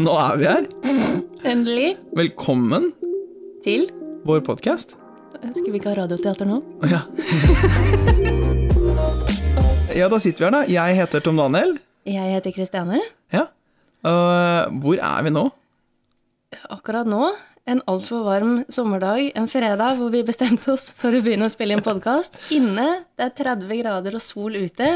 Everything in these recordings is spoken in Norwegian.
Nå er vi her. Endelig. Velkommen, Til vår podkast. Skulle vi ikke ha radioteater nå? Ja. ja, da sitter vi her, da. Jeg heter Tom Daniel. Jeg heter Kristiane. Ja. Øh, hvor er vi nå? Akkurat nå, en altfor varm sommerdag, en fredag hvor vi bestemte oss for å begynne å spille inn podkast. Inne, det er 30 grader og sol ute.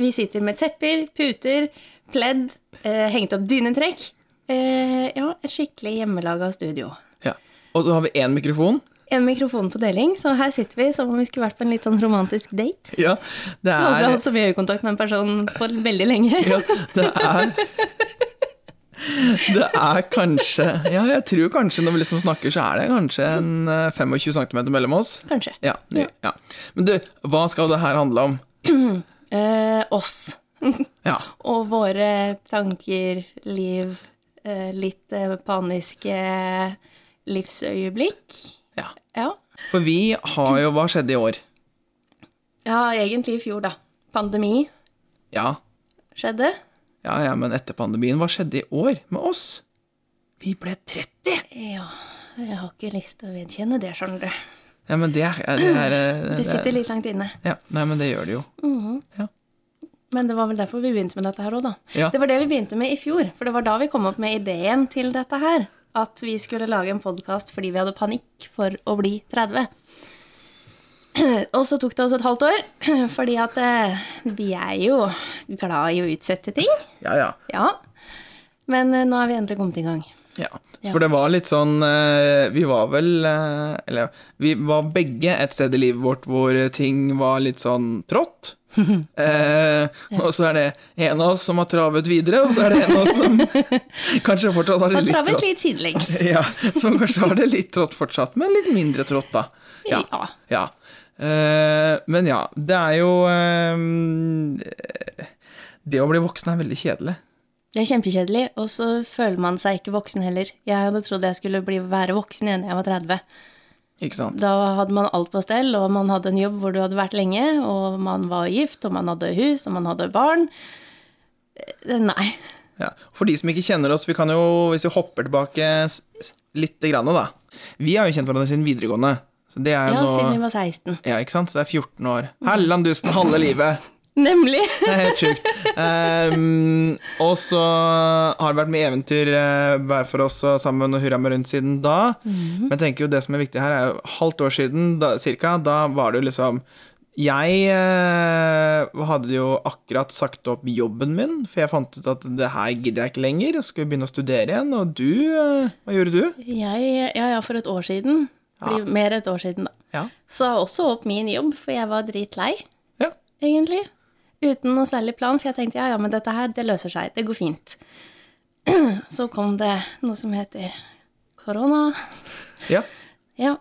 Vi sitter med tepper, puter, pledd, eh, hengt opp dynetrekk. Eh, ja, et skikkelig hjemmelaga studio. Ja. Og så har vi én mikrofon. En mikrofon på deling, så her sitter vi som om vi skulle vært på en litt sånn romantisk date. Ja, det Jeg har aldri er altså- hatt så mye øyekontakt med en person på veldig lenge. ja, Det er Det er kanskje Ja, jeg tror kanskje når vi liksom snakker, så er det kanskje en eh, 25 cm mellom oss. Kanskje. Ja, ny- ja. Men du, hva skal det her handle om? Eh, oss. Ja. Og våre tanker, liv, eh, litt eh, paniske livsøyeblikk. ja. Ja. For vi har jo Hva skjedde i år? ja, egentlig i fjor, da. Pandemi Ja, skjedde. ja, ja, men etter pandemien, hva skjedde i år med oss? Vi ble 30! Ja, jeg har ikke lyst til å vedkjenne det, skjønner du. Ja, men det er Det, er, eh, Det sitter litt langt inne. ja, Nei, men det gjør det jo. Men det var vel derfor vi begynte med dette her òg, da. Ja. Det var det vi begynte med i fjor, for det var da vi kom opp med ideen til dette her. At vi skulle lage en podkast fordi vi hadde panikk for å bli 30. Og så tok det oss et halvt år, fordi at eh, vi er jo glad i å utsette ting. Ja, ja. Ja. Men eh, nå er vi endelig kommet i gang. Ja, for det var litt sånn eh, Vi var vel eh, Eller vi var begge et sted i livet vårt hvor ting var litt sånn trått. Eh, og så er det en av oss som har travet videre, og så er det en av oss som kanskje fortsatt har det Og litt travet trått. litt sidelengs. Ja, som kanskje har det litt trått fortsatt, men litt mindre trått, da. Ja. ja. Eh, men ja, det er jo eh, Det å bli voksen er veldig kjedelig. Det er kjempekjedelig, og så føler man seg ikke voksen heller. Jeg hadde trodd jeg skulle bli, være voksen igjen da jeg var 30. Ikke sant? Da hadde man alt på stell, og man hadde en jobb hvor du hadde vært lenge, og man var gift, og man hadde hus, og man hadde barn. Eh, Nei. Ja. For de som ikke kjenner oss, vi kan jo, hvis vi hopper tilbake s- s- litt, grann, da Vi har jo kjent hverandre siden videregående. Så det er jo Ja, siden vi nå var 16. ja, ikke sant? Så det er 14 år. Helland dusten, halve livet! Nemlig! Det er helt sjukt. Ehm, og så har det vært mye eventyr eh, hver for oss og sammen og hurra meg rundt siden da. Men jeg tenker jo det som er viktig her, er jo halvt år siden da, cirka, da var det jo liksom jeg eh, hadde jo akkurat sagt opp jobben min, for jeg fant ut at det her gidder jeg ikke lenger, og skulle begynne å studere igjen. Og du, eh, hva gjorde du? Jeg, ja, ja, for et år siden, blir mer et år siden da, Ja. sa også opp min jobb, for jeg var dritlei, ja. egentlig. Uten noe særlig plan, for jeg tenkte ja, ja, men dette her, det løser seg, det går fint. Så kom det noe som heter korona. ja. Ja,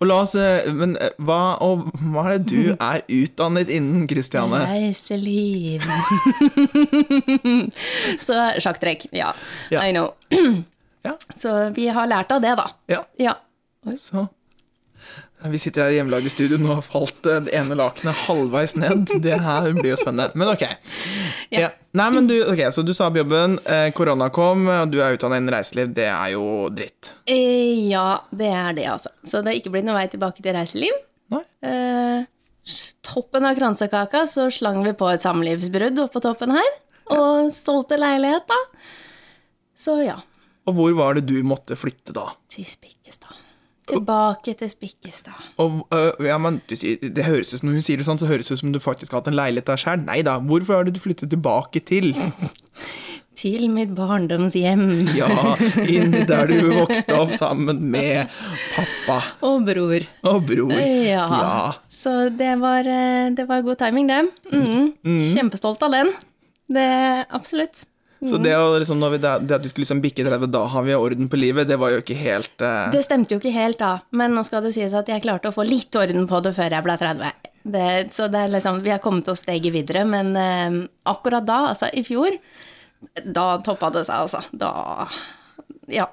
Og la oss, eh, men eh, hva, og, hva er det du er utdannet innen, Kristiane? Reiseliv. Så sjakktrekk, ja. Ja. I know. Ja. Så vi har lært av det, da. Ja. Ja. Så Vi sitter her i hjemmelaget studio, nå har falt eh, det ene lakenet halvveis ned. Det her blir jo spennende. Men ok. Ja. Nei, men du, ok, Så du sa opp jobben, eh, korona kom, og du er utdannet innen reiseliv. Det er jo dritt. Eh, ja, det er det, altså. Så det er ikke blitt noen vei tilbake til reiseliv. Nei? Eh, s- toppen av kransekaka så slang vi på et samlivsbrudd oppå toppen her. Og solgte leilighet, da. Så ja. Og hvor var det du måtte flytte da? Til Spikkestad. Tilbake til Spikkestad. Og, eh, ja, men du, sier- det høres ut som Når hun sier det sånn, så høres det ut som du faktisk har hatt en leilighet der sjøl. Nei da, hvorfor har du flyttet tilbake til? Til mitt barndomshjem. Ja, inn der du vokste opp sammen med pappa Og bror. og bror. Ja. ja. Så det var, eh, det var god timing, det. Mm. Kjempestolt av den. Det, absolutt. Så Mm. det, å liksom, når vi, det, det at vi skulle liksom bikke 30, da har vi orden på livet, det var jo ikke helt eh, Det stemte jo ikke helt da, men nå skal det sies at jeg klarte å få litt orden på det før jeg ble 30. Det, så det er liksom, vi har kommet oss steget videre, men eh, akkurat da, altså i fjor, da toppa det seg, altså. Da Ja.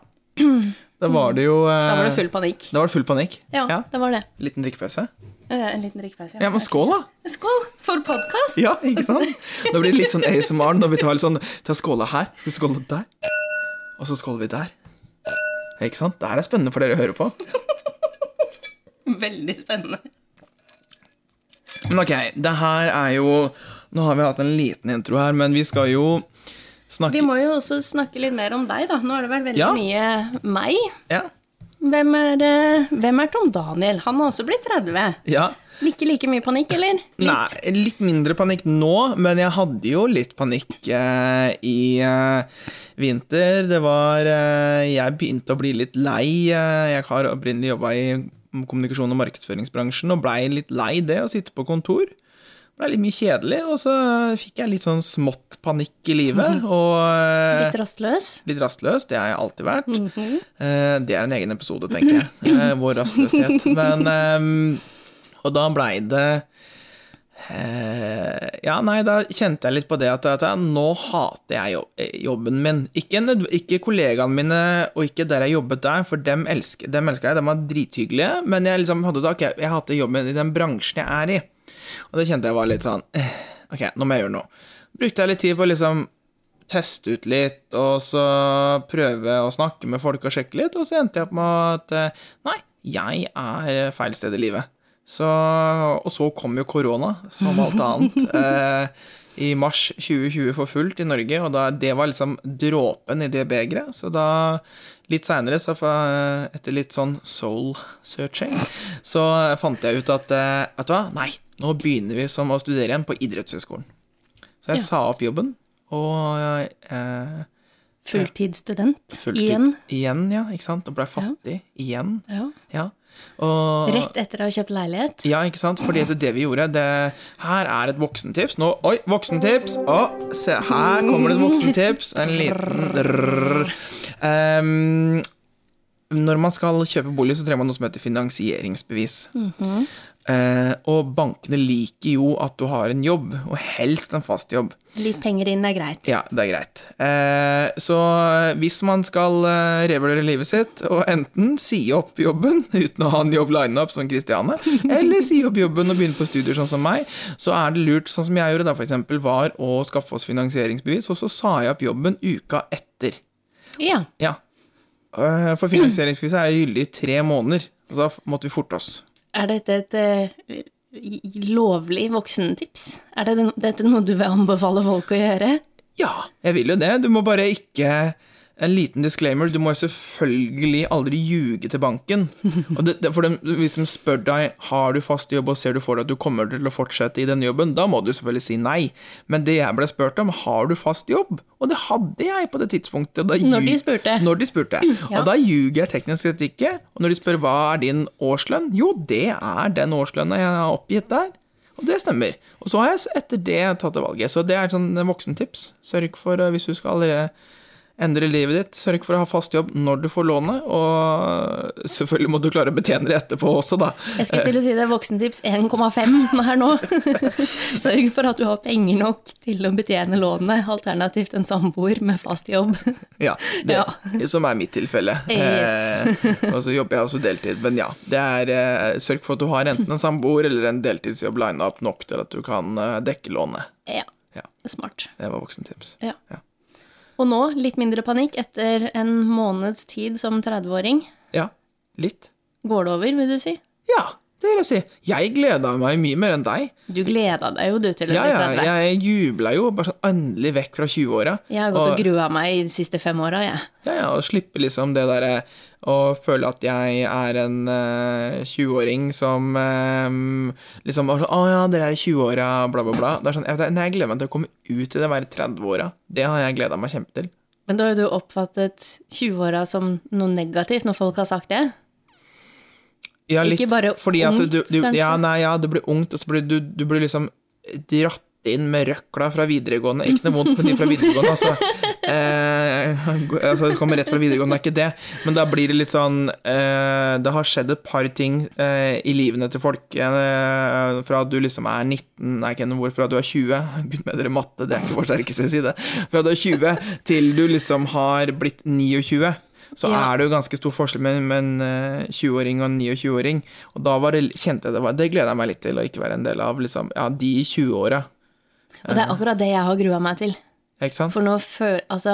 Da var det jo eh, Da var det full panikk. da var det full panikk. Ja, det var det. Liten drikkepause. Eh, En liten drikkepause. Ja, men skål, da! Skål for podkast! Ja, ikke sant? Da blir det litt sånn ASMR når vi tar litt sånn Ta skåla her, skal du skåla der. Og så skåler vi der. Ikke sant? Det her er spennende for dere å høre på. Veldig spennende. Men ok, det her er jo Nå har vi hatt en liten intro her, men vi skal jo Vi snakke må jo også snakke litt mer om deg, da. Nå har det vært veldig Ja. mye meg. Ja. Hvem er, eh, hvem er Tom Daniel? Han har også blitt 30. ja. Ikke like mye panikk, eller? Litt. Nei, litt mindre panikk nå, men jeg hadde jo litt panikk eh, i eh, vinter. Det var eh, Jeg begynte å bli litt lei. Eh, jeg har opprinnelig jobba i kommunikasjon- og markedsføringsbransjen og blei litt lei det å sitte på kontor. Blei litt mye kjedelig, og så fikk jeg litt sånn smått panikk i livet. Og eh, Litt rastløs. Litt rastløs, det har jeg alltid vært. Eh, Det er en egen episode, tenker jeg. eh, Vår rastløshet. Men ehm, Og da blei det eh, Ja, nei, da kjente jeg litt på det at, at ja, nå hater jeg jobb- eh, jobben min. Ikke, nødv- ikke kollegaene mine og ikke der jeg jobbet der, for dem elsker, dem elsker jeg. De var drithyggelige, men jeg liksom hadde da, ok, jeg hater jobben i den bransjen jeg er i. Og det kjente jeg var litt sånn eh, Ok, nå må jeg gjøre noe. Brukte jeg litt tid på å liksom teste ut litt, og så prøve å snakke med folk og sjekke litt, og så endte jeg opp med at eh, nei, jeg er eh, feil sted i livet. Så, og så kom jo korona, som alt annet, eh, i mars 2020 for fullt i Norge, og da, det var liksom dråpen i det begeret. Så da, litt seinere, så fa- etter litt sånn soul searching, så fant jeg ut at eh, Vet du hva, nei, nå begynner vi som å studere igjen på idrettshøyskolen. Så jeg sa opp jobben, og eh, Fulltidsstudent. fulgte Igjen. ut igjen, ja, ikke sant? Og ble fattig igjen. Ja. Ja. Og, Rett etter å ha kjøpt leilighet. Ja, ikke sant? Fordi at det vi gjorde det, Her er et voksentips. Nå, oi, voksentips! Å, se, her kommer det et voksentips. En liten drrrr. Ehm, Når man skal kjøpe bolig, så trenger man noe som heter finansieringsbevis. Mhm. Eh, og bankene liker jo at du har en jobb, og helst en fast jobb. Litt penger inn er greit. Ja, det er greit. Eh, så hvis man skal eh, revurdere livet sitt, og enten si opp jobben uten å ha en jobb line-up som Kristiane, eller si opp jobben og begynne på studier sånn som meg, så er det lurt, sånn som jeg gjorde da, for eksempel, var å skaffe oss finansieringsbevis, og så sa jeg opp jobben uka etter. Ja. Ja. Eh, for finansieringsbeviset er gyldig i tre måneder, og da måtte vi forte oss. Er dette et eh, i- lovlig voksentips? Er det, dette noe du vil anbefale folk å gjøre? Ja, jeg vil jo det. Du må bare ikke En liten disclaimer. Du må jo selvfølgelig aldri ljuge til banken. Og det, det, for de, Hvis de spør deg har du fast jobb og ser du for deg at du kommer til å fortsette i denne jobben, da må du selvfølgelig si nei. Men det jeg ble spurt om, har du fast jobb? Og det hadde jeg på det tidspunktet. Da Når de ljug- spurte. Når de spurte. Ja. Og da ljuger jeg teknisk sett ikke. Og når de spør hva er din årslønn, jo, det er den årslønna jeg har oppgitt der. Og det stemmer. Og så har jeg s- etter det tatt det valget. Så det er et sånn voksentips. Sørg for, eh, hvis du skal allerede endre livet ditt, sørg for å ha fast jobb når du får lånet, og eh, selvfølgelig må du klare å betjene det etterpå også, da. Jeg skulle til å si det er voksentips 1,5 her nå. Sørg for at du har penger nok til å betjene lånet, alternativt en samboer med fast jobb. Ja, det, Ja. Som er mitt tilfelle. Yes. Eh, og så jobber jeg også deltid. Men ja, det er, eh, sørg for at du har enten en samboer eller en deltidsjobb lina opp nok til at du kan eh, dekke lånet. Ja, Ja. smart. Det var voksentips. Ja. Ja. Og nå, litt mindre panikk etter en måneds tid som 30-åring. Ja, litt. Går det over, vil du si? Ja, det vil jeg si. Jeg gleda meg mye mer enn deg. Du gleda deg jo du til å Ja, bli ja, 30. jeg jubla jo bare sånn endelig vekk fra 20-åra. Jeg har gått og grua meg i de siste fem åra, jeg. Ja, ja, og slippe liksom det derre å føle at jeg er en eh, 20-åring som eh, liksom bare sånn, Å ja, dere er i 20-åra, bla, bla, bla. Det er sånn, jeg, vet- nei, jeg gleder meg til å komme ut i det å være 30-åra. Det har jeg gleda meg kjempe til. Men da har jo du oppfattet 20-åra som noe negativt når folk har sagt det. Ja, Ikke bare fordi at ungt, du, du, ja, kanskje? nei, ja, det blir ungt, og så blir du, du blir liksom dratt inn med røkla fra videregående. Ikke noe vondt med de fra videregående, altså. Eh, altså det kommer rett fra videregående, det er ikke det. Men da blir det litt sånn eh, Det har skjedd et par ting eh, i livene til folk eh, fra at du liksom er 19 Nei, ikke hvor, fra at du er 20 Gud med dere matte, det er ikke vår sterkeste side. Fra at du er 20 til du liksom har blitt 29. Så Ja. er det jo ganske stor forskjell mellom en eh, 20-åring og en 29-åring. Og da var det, kjente jeg det var Det gleder jeg meg litt til, å ikke være en del av liksom, ja, de i 20-åra. Og det er akkurat det jeg har grua meg til. Ikke sant? For nå føler Altså,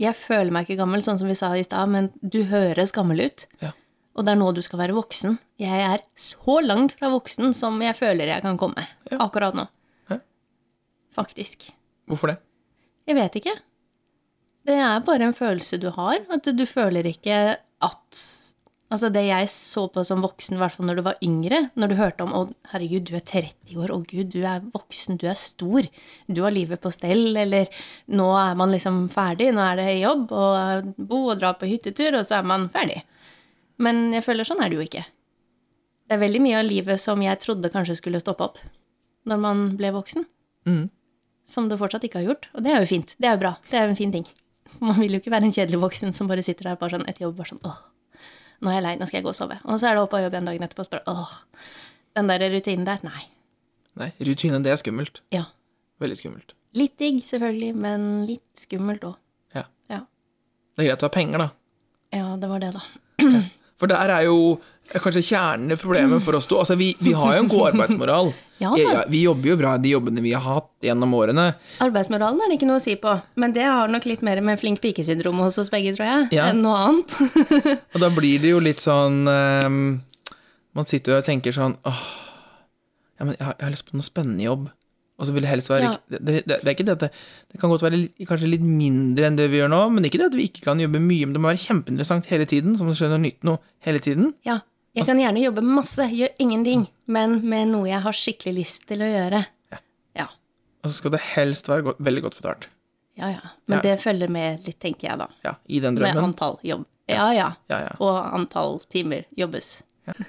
Jeg føler meg ikke gammel, sånn som vi sa i stad, men du høres gammel ut. Ja. Og det er nå du skal være voksen. Jeg er så langt fra voksen som jeg føler jeg kan komme akkurat nå. Ja. Faktisk. Hvorfor det? Jeg vet ikke. Det er bare en følelse du har. At du føler ikke at Altså, det jeg så på som voksen, i hvert fall når du var yngre, når du hørte om 'Å, herregud, du er 30 år. Å, gud, du er voksen. Du er stor. Du har livet på stell.' Eller 'Nå er man liksom ferdig. Nå er det jobb og eh, bo og dra på hyttetur, og så er man ferdig'. Men jeg føler sånn er det jo ikke. Det er veldig mye av livet som jeg trodde kanskje skulle stoppe opp når man ble voksen som det fortsatt ikke har gjort. Og det er jo fint. Det er jo bra. Det er jo en fin ting. Man vil jo ikke være en kjedelig voksen som bare sitter der bare sånn etter jobb bare sånn åh, nå er jeg lei, nå skal jeg gå og sove. Og så er det opp av jobb igjen dagen etterpå og så bare åh, den der rutinen der, nei. Nei, rutine, det er skummelt. Ja. Veldig skummelt. Litt digg selvfølgelig, men litt skummelt òg. Ja. Ja. Det er greit å ha penger, da. ja, det var det, da. For der er jo kanskje kjernen i problemet for oss to. Altså, vi, vi har jo en god arbeidsmoral. Ja da. Jeg- jeg- vi jobber jo bra i de jobbene vi har hatt gjennom årene. Arbeidsmoralen er det ikke noe å si på, men det har nok litt mer med flink pike-syndrom hos oss begge, tror jeg, Ja. enn noe annet. Og da blir det jo litt sånn ehm, Man sitter jo og tenker sånn Åh, ja, men jeg har, jeg har lyst på noe spennende jobb. Og så vil det helst være Ja. ikke- det, det, det er ikke det at det, det kan godt være litt, kanskje litt mindre enn det vi gjør nå, men ikke det at vi ikke kan jobbe mye. Men det må være kjempeinteressant hele tiden, så man skjønner nytt noe hele tiden. Ja, jeg kan gjerne jobbe masse, gjør ingenting, men med noe jeg har skikkelig lyst til å gjøre. Ja. Og så skal det helst være godt, veldig godt betalt. Ja, ja. Men Ja. det følger med litt, tenker jeg da. Ja, I den Med drømmen. antall jobb. Ja, ja. Ja, ja. Og antall timer jobbes.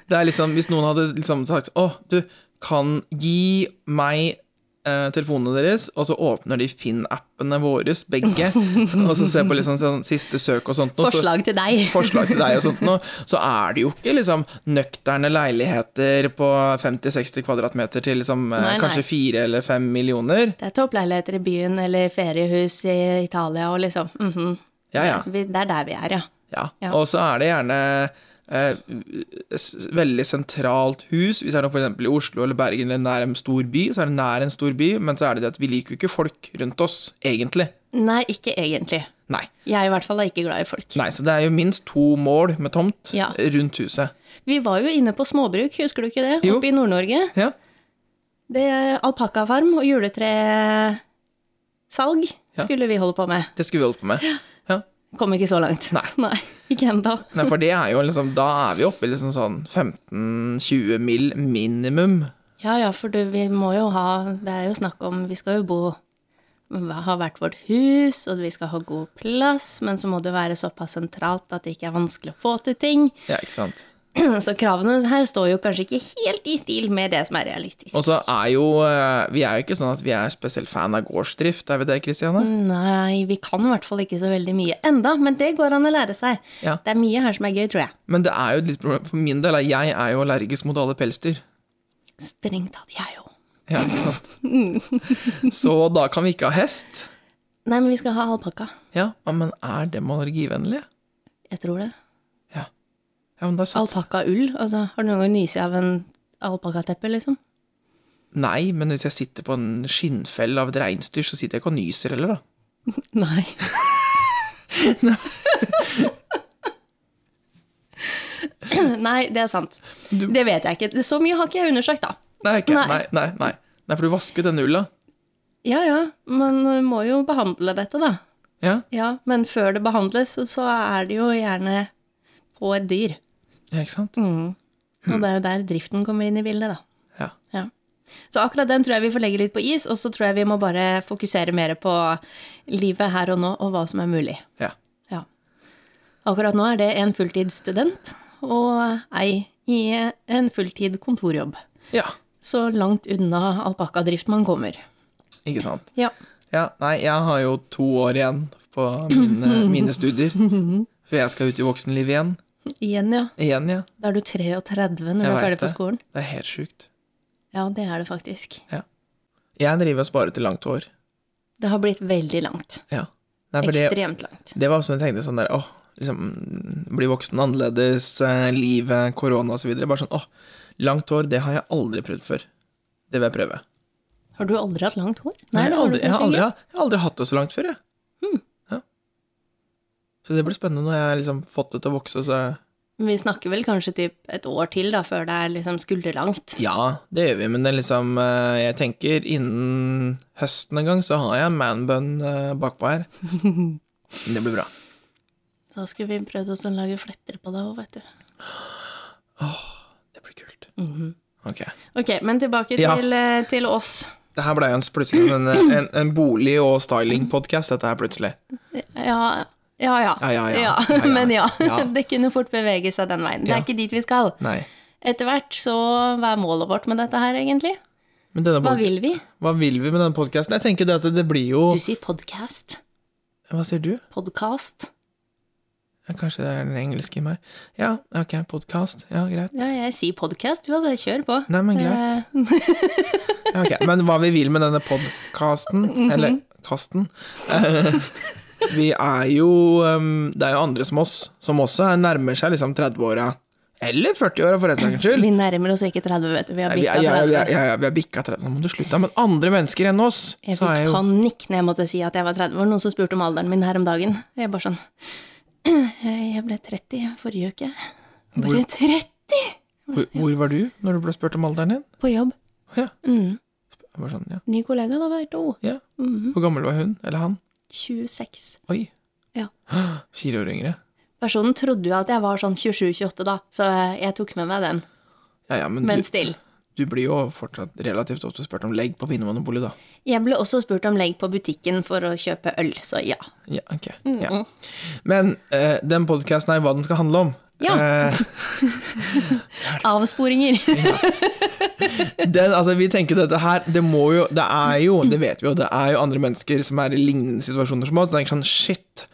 Det er liksom, Hvis noen hadde liksom sagt Å, du kan gi meg eh, telefonene deres, og så åpner de Finn-appene våre, begge, og så ser på liksom sånn siste søk og sånt. noe, så- Forslag til deg. forslag til deg og sånt noe, så er det jo ikke liksom nøkterne leiligheter på 50-60 kvadratmeter til liksom eh, Nei, nei. kanskje fire eller fem millioner. Det er toppleiligheter i byen eller feriehus i Italia og liksom. mhm. Ja, ja. Vi- Det er der vi er, ja. Ja. Ja. Og så er det gjerne eh, s- veldig sentralt hus. Hvis det er noe for eksempel i Oslo eller Bergen eller nær en stor by, så er det nær en stor by, men så er det det at vi liker jo ikke folk rundt oss, egentlig. Nei, ikke egentlig. Nei. Jeg i hvert fall er ikke glad i folk. Nei, så det er jo minst to mål med tomt Ja. rundt huset. Vi var jo inne på småbruk, husker du ikke det? Jo. Oppe i Nord-Norge. Ja. Det er alpakkafarm og juletresalg Ja. skulle vi holde på med. Det skulle vi holde på med. Ja. Kom ikke så langt. Nei. Nei ikke ennå. Nei, for det er jo liksom Da er vi oppe i liksom sånn 15-20 mil minimum. Ja, ja, for du, vi må jo ha Det er jo snakk om Vi skal jo bo Ha hvert vårt hus, og vi skal ha god plass, men så må det være såpass sentralt at det ikke er vanskelig å få til ting. Ja, ikke sant? Så kravene her står jo kanskje ikke helt i stil med det som er realistisk. Og så er jo eh, Vi er jo ikke sånn at vi er spesielt fan av gårdsdrift, er vi det, Kristiane? Nei, vi kan i hvert fall ikke så veldig mye enda, men det går an å lære seg. Ja. Det er mye her som er gøy, tror jeg. Men det er jo et litt problem for min del. er Jeg er jo allergisk mot alle pelsdyr. Strengt tatt, jeg òg. Ja, ikke sant? Så da kan vi ikke ha hest. Nei, men vi skal ha alpakka. Ja, ja, men er dem allergivennlige? Jeg tror det. Ja, men da sats... Alpakkaull? Altså, har du noen gang nysa av en alpakkateppe, liksom? Nei, men hvis jeg sitter på en skinnfell av et reinsdyr, så sitter jeg ikke og nyser heller, da. Nei. Nei, det er sant. Du- Det vet jeg ikke. Så mye har ikke jeg undersøkt, da. Nei, ikke. Nei. Nei. Nei, nei, nei. For du vasker jo den ulla. Ja ja, man eh, må jo behandle dette, da. Ja, Ja, Men før det behandles, så er det jo gjerne på et dyr. ja, ikke sant? Og det er jo der driften kommer inn i bildet, da. Ja. Ja. Så akkurat den tror jeg vi får legge litt på is, og så tror jeg vi må bare fokusere mer på livet her og nå, og hva som er mulig. ja. Ja. Akkurat nå er det en fulltidsstudent og ei i en fulltid kontorjobb. Ja, Så langt unna alpakkadrift man kommer. ikke sant. Ja. Ja, nei, jeg har jo to år igjen på mine, mine studier. For jeg skal ut i voksenlivet igjen. Igjen, ja. Igjen, ja. Da er du 33 når du Jeg er vet ferdig på det. skolen. Det er helt sjukt. Ja, det er det faktisk. Ja. Jeg driver og sparer til langt hår. Det har blitt veldig langt. Ja. Nei, for det, Ekstremt langt. det var sånn jeg tenkte sånn der, åh, liksom, bli voksen annerledes, eh, livet, korona og så videre. Bare sånn, åh, langt hår, det har jeg aldri prøvd før. Det vil jeg prøve. Har du aldri hatt langt hår? Nei, jeg, har det har du Hmm. aldri, jeg, har kanskje aldri, ikke. jeg har aldri hatt det så langt før, jeg. Så det blir spennende når jeg har liksom fått det til å vokse. Så Men vi snakker vel kanskje typ et år til da, før det er liksom skulderlangt. ja, det gjør vi, men det er liksom eh, Jeg tenker innen høsten en gang så har jeg en manbun eh, bakpå her. Men det blir bra. Så da skulle vi prøvd å sånn lage fletter på det òg, vet du. Det blir kult. Mhm. Ok. Ok, men tilbake Ja. til, eh, til oss. Det her ble jo en, plutselig en, en, en bolig- og styling-podkast, dette her plutselig. Ja, ja. Ja, Ja, ja, ja. Ja, ja. Men ja, Ja. det kunne fort bevege seg den veien. Det er Ja. ikke dit vi skal. Nei. Etter hvert så Hva er målet vårt med dette her, egentlig? Men denne Hva pod- vil vi? hva vil vi med denne podkasten? Jeg tenker det at det blir jo Du sier podcast. Hva sier du? Podcast. Ja, Kanskje det er den engelske i meg. Ja, ok, podkast. Ja, greit. Ja, jeg sier podcast. Altså, kjør på. Nei, men greit. Eh, Ja, ok. Men hva vi vil med denne Mhm. podkasten, eller kasten eh, Vi er jo ehm, Det er jo andre som oss, som også er- nærmer seg liksom 30-åra. Eller 40-åra, for den saks skyld. vi nærmer oss ikke 30, vet du. Vi har Vi bikka er, ja, ja, 30. ja, ja, vi er bikka 30, nå må du slutte. Men andre mennesker enn oss Jeg så er fikk jo, panikk når jeg måtte si at jeg var 30. Det var noen som spurte om alderen min her om dagen. Jeg bare sånn Jeg ble 30 forrige uke. Jeg Ble 30 hvor, hvor var du når du ble spurt om alderen din? på jobb. Å Ja. Mm. Jeg var sånn, ja. Ny kollega da, veit du. ja. Mhm. Hvor gammel var hun? Eller han? 26. Oi. Ja. Fire år yngre. Personen trodde jo at jeg var sånn 27-28 da, så eh, jeg tok med meg den. Ja, ja, men, Men du, still. du blir jo fortsatt relativt ofte spurt om legg på Vinmonopolet, da. Jeg ble også spurt om legg på butikken for å kjøpe øl, så ja. Ja, ok. Mm. Ja. Men eh, den podkasten er hva den skal handle om. Ja. Eh, Avsporinger. den, altså, vi tenker jo dette her Det må jo, det er jo, det vet vi jo, det er jo andre mennesker som er i lignende situasjoner som oss. som tenker sånn shit,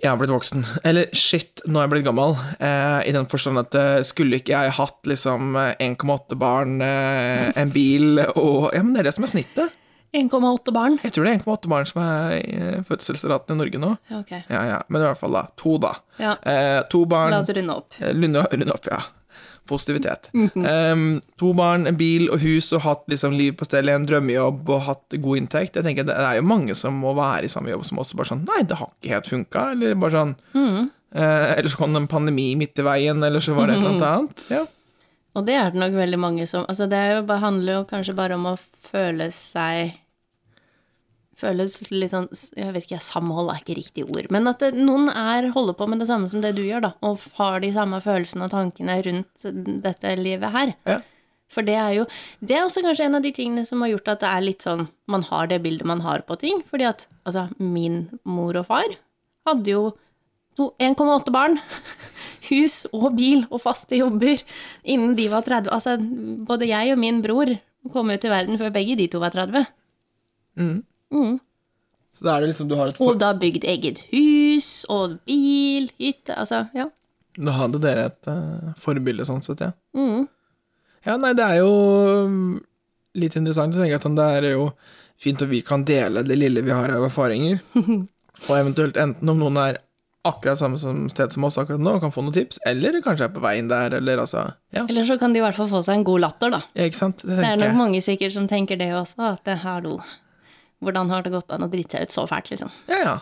jeg har blitt voksen. Eller shit, nå er jeg blitt gammel. Eh, I den forstand at eh, skulle ikke jeg hatt liksom eh, 1,8 barn, eh, en bil og Ja, men det er det som er snittet. 1,8 barn. Jeg tror det er 1,8 barn som er eh, fødselsraten i Norge nå. Ok, Ja, ja, Men i hvert fall, da. To, da. Ja. Eh, to barn. la oss runde opp. Eh, Lunde, lunde opp, ja. Positivitet. Ehm, to barn, en bil og hus og hatt liksom liv på stell i en drømmejobb og hatt god inntekt. Jeg tenker Det er jo mange som må være i samme jobb som oss og bare sånn Nei, det har ikke helt funka. Eller bare sånn eh, Eller så kom det en pandemi midt i veien, eller så var det et eller annet annet. Ja. Og det er det nok veldig mange som Altså, det er jo, bare- handler jo kanskje bare om å føle seg Føles litt sånn Jeg vet ikke, samhold er ikke riktig ord. Men at det, noen er, holder på med det samme som det du gjør, da. Og har de samme følelsene og tankene rundt dette livet her. Ja. For det er jo Det er også kanskje en av de tingene som har gjort at det er litt sånn Man har det bildet man har på ting. Fordi at altså, min mor og far hadde jo to- 1,8 barn. Hus og bil og faste jobber innen de var 30. Altså, både jeg og min bror kom jo til verden før begge de to var 30. Så da er det liksom du har et for... Og da bygd eget hus og bil, hytte Altså, ja. Da hadde dere et eh, forbilde sånn sett, ja. Mm. Ja, nei, det er jo mm, litt interessant. Jeg tenker at sånn, Det er jo fint at vi kan dele det lille vi har av erfaringer. Og eventuelt enten om noen er akkurat samme som sted som oss akkurat nå og kan få noen tips, eller kanskje er på veien der, eller altså Ja, Eller så kan de i hvert fall få seg en god latter, da. ja ikke sant? Det Det er tenker nok jeg. mange sikkert som tenker det også, at det, hallo, hvordan har det gått an å drite seg ut så fælt, liksom? Ja, ja.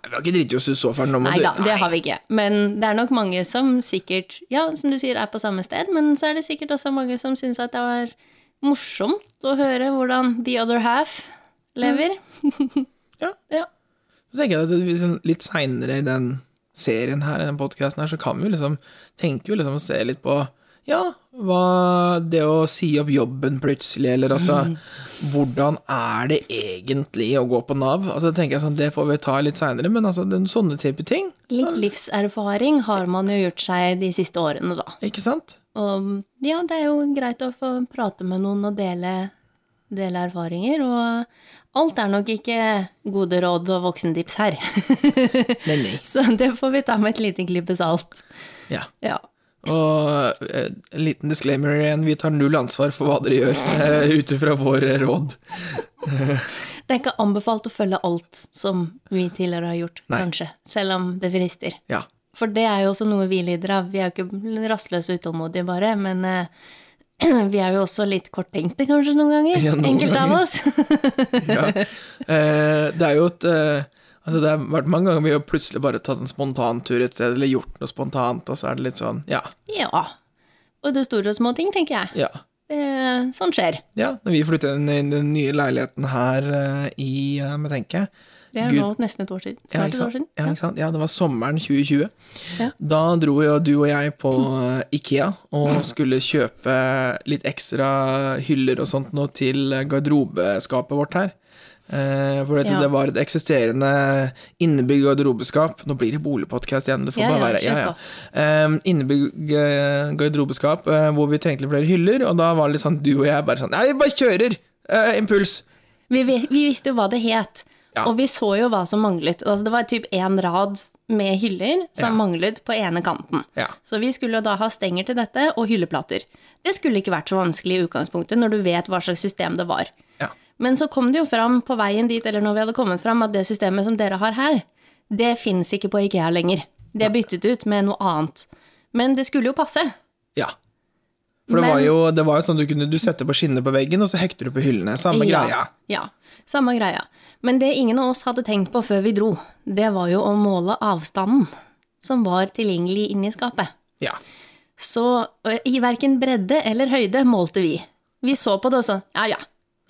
Nei, vi har ikke driti oss ut så fælt nå, men Nei da, du- det har vi ikke. Men det er nok mange som sikkert, ja, som du sier, er på samme sted, men så er det sikkert også mange som syns at det var morsomt å høre hvordan the other half lever. Ja. ja. Så tenker jeg at det- liksom litt seinere i den serien her, i den podkasten her, så kan vi jo liksom tenke jo liksom å se litt på ja, hva det å si opp jobben plutselig, eller altså Hvordan er det egentlig å gå på Nav? Altså tenker jeg sånn, Det får vi ta litt seinere, men altså den, sånne type ting, Litt livserfaring har man jo gjort seg de siste årene, da. ikke sant? Og ja, det er jo greit å få prate med noen og dele, dele erfaringer. Og alt er nok ikke gode råd og voksentips her. Men nei. Så det får vi ta med et lite klype salt. Ja. Ja. Og eh, en liten disclaimer igjen, vi tar null ansvar for hva dere gjør, eh, ut ifra våre råd. Det er ikke anbefalt å følge alt som vi tidligere har gjort, Nei. kanskje. Selv om det frister. Ja. For det er jo også noe vi lider av. Vi er jo ikke rastløse og utålmodige, bare. Men eh, vi er jo også litt korttenkte, kanskje, noen ganger. Ja, noen Enkelte av oss. ja. Eh, det er jo et eh, Altså, det har vært mange ganger vi har plutselig bare tatt en spontantur et sted, eller gjort noe spontant, og så er det litt sånn Ja. Ja. Både store og små ting, tenker jeg. Ja. Det, sånn skjer. ja når vi flyttet inn i den nye leiligheten her eh, i eh, Hva tenker jeg? Det er Gud- nå nesten et år siden. Ja, ikke Snart et år sant? siden. Ja, ikke sant? ja, det var sommeren 2020. Ja. Da dro jo du og jeg på eh, Ikea og skulle kjøpe litt ekstra hyller og sånt nå til garderobeskapet vårt her. Eh, for dette, Ja. det var et eksisterende innebygd garderobeskap. Nå blir det boligpodkast igjen, det får Ja, bare ja, være. Ja, kjør ja. Eh, innebygd eh, garderobeskap eh, hvor vi trengte litt flere hyller, og da var det litt sånn du og jeg bare sånn Nei, vi bare kjører! Eh, impuls! Vi, vi, vi visste jo hva det het, Ja. og vi så jo hva som manglet. Altså, det var typ én rad med hyller som Ja. manglet på ene kanten. Ja. Så vi skulle jo da ha stenger til dette og hylleplater. Det skulle ikke vært så vanskelig i utgangspunktet, når du vet hva slags system det var. ja. Men så kom det jo fram på veien dit, eller når vi hadde kommet fram, at det systemet som dere har her, det fins ikke på IKEA lenger. Det er byttet ut med noe annet. Men det skulle jo passe. Ja. For det, Men- var jo, det var jo sånn du kunne du sette på skinner på veggen, og så hekter du på hyllene. Samme ja, greia. Ja, samme greia. Men det ingen av oss hadde tenkt på før vi dro, det var jo å måle avstanden som var tilgjengelig inni skapet. Ja. Så ø, i verken bredde eller høyde målte vi. Vi så på det og sånn, ja ja,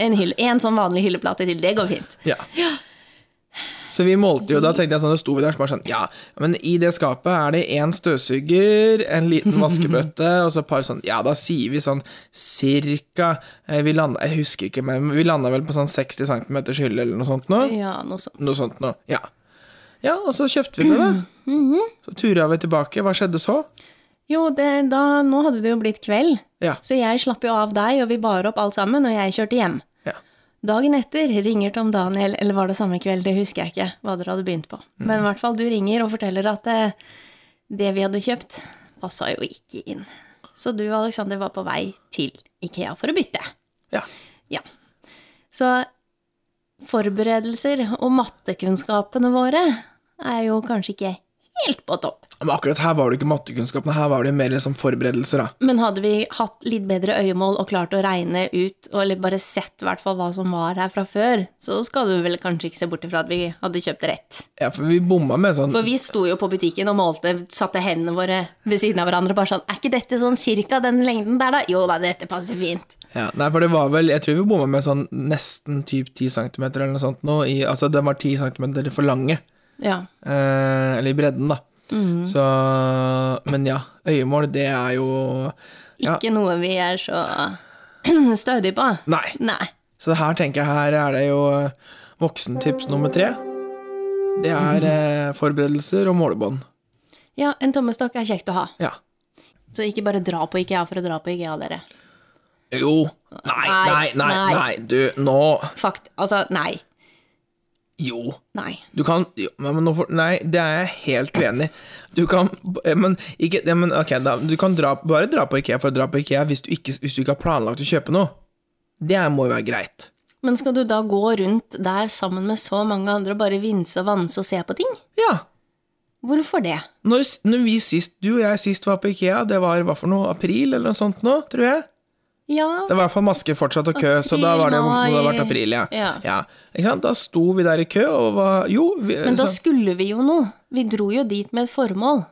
en, hylle, en sånn vanlig hylleplate til, det går fint. ja. Så vi målte jo, da tenkte jeg sånn, det sto vi der så bare sånn, ja, men i det skapet er det en støvsuger, en liten vaskebøtte, og så et par sånn, ja, da sier vi sånn, cirka, eh, vi landet, jeg husker ikke, men vi landet vel på sånn 60 cm hylle eller noe sånt nå. Ja, noe sånt. Noe sånt nå, ja. Ja, og så kjøpte vi det Mm. da. Mhm. Så turet vi tilbake, hva skjedde så? Jo, det, da, nå hadde det jo blitt kveld, Ja, så jeg slapp jo av deg, og vi bar opp alt sammen, og jeg kjørte hjem. ja, Dagen etter ringer Tom Daniel, eller var det samme kveld, det husker jeg ikke hva dere hadde begynt på. Men i hvert fall, du ringer og forteller at eh, det vi hadde kjøpt, passa jo ikke inn. Så du og Alexander var på vei til Ikea for å bytte. ja. Ja. Så forberedelser og mattekunnskapene våre er jo kanskje ikke helt på topp. Men akkurat her var det ikke mattekunnskapene, her var det jo mer liksom forberedelser, da. Men hadde vi hatt litt bedre øyemål og klart å regne ut, og- eller bare sett i hvert fall hva som var her fra før, så skal du vel kanskje ikke se bort ifra at vi hadde kjøpt rett. Ja, for vi bomma med sånn For vi sto jo på butikken og målte, satte hendene våre ved siden av hverandre og bare sånn Er ikke dette sånn cirka den lengden der, da? Jo da, dette passer fint. ja, Nei, for det var vel Jeg tror vi bomma med sånn nesten typ 10 cm eller noe sånt nå. I, altså, den var 10 cm for lange. Ja. Eh, eller i bredden, da. Så Men ja, øyemål, det er jo ja, Ikke noe vi er så stødige på. Nei. Nei. Så her tenker jeg her er det jo eh, voksentips nummer tre. Det er eh, forberedelser og målebånd. Ja, en tommestokk er kjekt å ha. Ja. Så ikke bare dra på IKEA for å dra på IKEA, dere. Jo. Nei, nei, Nei, nei, nei. nei. Du, nå Fakt. Altså, nei. Jo. Nei. Du kan jo, nei, men nå får- Nei, det er jeg helt uenig i. Du kan eh, Men ikke ja, men, Ok, da. Du kan dra, bare dra på Ikea for å dra på Ikea hvis du ikke, hvis du ikke har planlagt å kjøpe noe. Det må jo være greit. Men skal du da gå rundt der sammen med så mange andre og bare vinse og vanse og se på ting? Ja. Hvorfor det? Når, s- når vi sist, du og jeg sist var på Ikea, det var hva for noe? April eller noe sånt nå, tror jeg? Ja, Det var i hvert fall masker fortsatt og kø, så da April, var det, må det ha mai. vært april, ja. Ja. Ikke sant? Da sto vi der i kø, og var Jo, vi, men da sånn- skulle vi jo noe. Vi dro jo dit med et formål.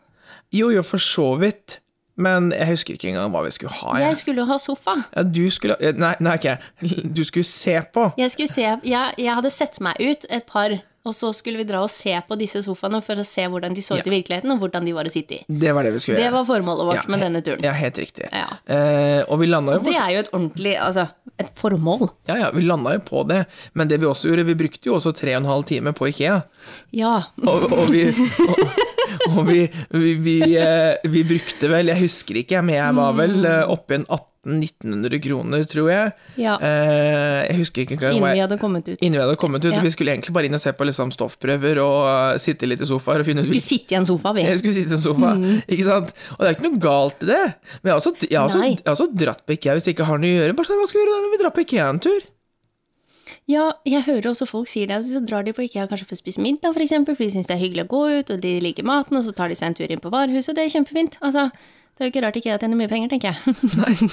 jo, jo, for så vidt. Men jeg husker ikke engang hva vi skulle ha. jeg. Jeg skulle jo ha sofa. Ja, du skulle eh, Nei, nei ikke jeg. Du skulle se på. Jeg, skulle se, jeg, jeg hadde sett meg ut et par, og så skulle vi dra og se på disse sofaene for å se hvordan de så ut i virkeligheten, og hvordan de var å sitte i. Det var det vi skulle Det gjøre. var formålet vårt Ja, med he- denne turen. Ja, helt riktig. Ja. Eh, og vi landa jo, Det på- er jo et ordentlig Altså, et formål. ja, ja, vi landa jo på det, men det vi også gjorde, vi brukte jo også tre og en halv time på Ikea. Ja. Og, og vi og, og vi, vi, vi, eh, vi brukte vel, jeg husker ikke, men jeg var Mm. vel eh, oppe i en 1800-1900 kroner, tror jeg. Ja. Eh, jeg husker ikke engang Innen hva vi jeg hadde kommet ut. Innen vi hadde kommet ut, Ja. vi skulle egentlig bare inn og se på liksom, stoffprøver og eh, sitte litt i sofaer og finne ut Skulle sitte i en sofa, vi. Jeg skulle sitte i en sofa, Mm. ikke sant? Og det er ikke noe galt i det. Men jeg har også, jeg har også, Nei. jeg har også dratt på IKEA hvis jeg ikke har noe å gjøre. Bare sånn, hva skal vi gjøre da når vi drar på IKEA en tur? Ja, jeg hører også folk sier det. Så drar de på IKEA kanskje for å spise middag, for eksempel, for de syns det er hyggelig å gå ut, og de liker maten, og så tar de seg en tur inn på varehuset, og det er kjempefint. Altså, det er jo ikke rart IKEA tjener mye penger, tenker jeg.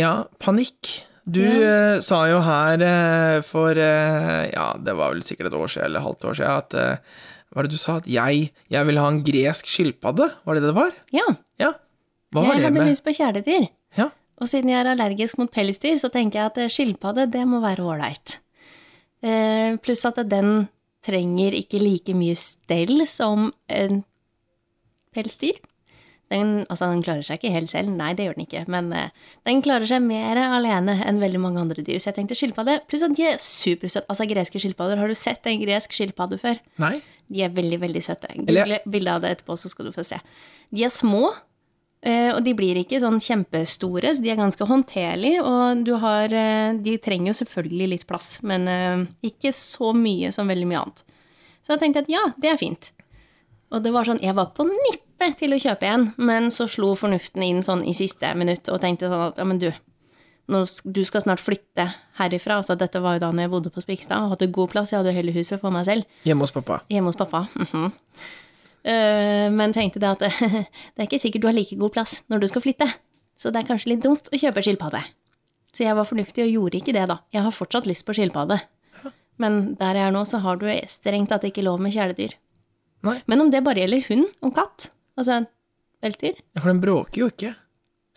Ja, panikk. Du eh, sa jo her eh, for eh, Ja, det var vel sikkert et år siden eller halvt år siden at eh, Hva var det du sa? At jeg, jeg ville ha en gresk skilpadde? Var det det det var? Ja, Ja. Hva var jeg det hadde med lyst på kjæledyr. Ja. Og siden jeg er allergisk mot pelsdyr, så tenker jeg at eh, skilpadde, det må være ålreit. Eh, pluss at den trenger ikke like mye stell som en pelsdyr. Den, altså, den klarer seg ikke helt selv, nei, det gjør den ikke, men eh, den klarer seg mer alene enn veldig mange andre dyr, så jeg tenkte skilpadde. Pluss at de er supersøte. Altså, greske skilpadder, har du sett en gresk skilpadde før? Nei? De er veldig, veldig søte. Eller- Google bilde av det etterpå, så skal du få se. De er små, eh, og de blir ikke sånn kjempestore, så de er ganske håndterlige. Og du har eh, De trenger jo selvfølgelig litt plass, men eh, ikke så mye som veldig mye annet. Så jeg tenkte at ja, det er fint. Og det var sånn, jeg var på nippet til å kjøpe en, men så slo fornuften inn sånn i siste minutt og tenkte sånn at ja, men du, nå, sk- du skal snart flytte herifra. Altså, dette var jo da når jeg bodde på Spikstad og hadde god plass, jeg hadde jo hele huset for meg selv. Hjemme hos pappa. Hjemme hos pappa. mhm. Eh, men tenkte det at det er ikke sikkert du har like god plass når du skal flytte. Så det er kanskje litt dumt å kjøpe skilpadde. Så jeg var fornuftig og gjorde ikke det, da. Jeg har fortsatt lyst på skilpadde. Men der jeg er nå, så har du strengt tatt ikke lov med kjæledyr. Nei. Men om det bare gjelder hund og katt, altså pelsdyr Ja, For den bråker jo ikke.